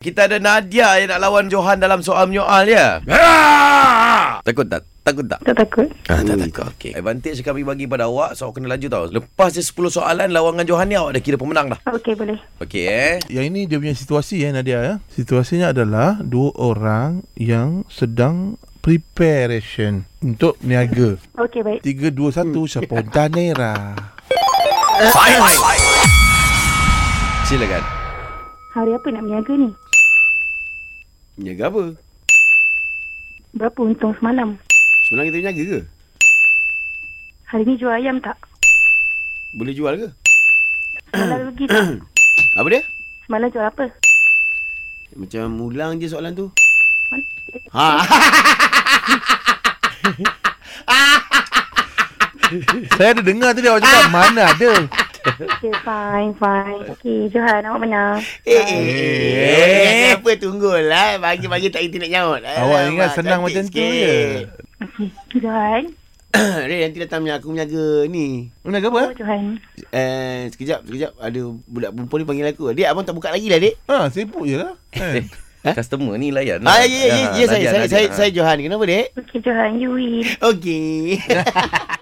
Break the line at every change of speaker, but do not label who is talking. Kita ada Nadia yang nak lawan Johan dalam soal menyoal ya. Takut tak? Takut tak?
Tak takut.
Ah, tak takut. Okey. Advantage kami bagi pada awak, so awak kena laju tau. Lepas dia 10 soalan lawan dengan Johan ni awak dah kira pemenang dah.
Okey, boleh.
Okey eh.
Yang ini dia punya situasi ya Nadia ya. Situasinya adalah dua orang yang sedang preparation untuk niaga. Hmm.
Okey, baik.
3 2 1 spontanera.
Ah,
Fine. Silakan.
Hari apa nak berniaga ni?
Menjaga apa?
Berapa untung semalam?
Semalam kita menjaga ke?
Hari ni jual ayam tak?
Boleh jual ke?
Semalam rugi tak?
Apa dia?
Semalam jual apa?
Macam ulang je soalan tu.
Mana- eh,
Ha.
Saya ada dengar tadi awak cakap mana ada.
Okey, fine, fine. Okey, Johan, awak menang.
Eh, eh, eh. Apa tunggulah. Pagi-pagi tak kita nak nyaut.
Awak ingat senang macam tu je.
Johan?
Ray, nanti datang punya aku menjaga ni.
Niaga apa?
Oh, Johan.
Eh, sekejap, sekejap. Ada budak perempuan ni panggil aku. Dek, abang tak buka lagi lah, dek.
Ha, sibuk je lah. Eh.
Ha? Customer ni layan.
Ah, ya, ya, ya, ya,
Nadia,
Ah.
saya, saya,
Nadia.
saya,
Ah.
saya Johan. Kenapa, dek?
Okey, Johan, you win.
Okey.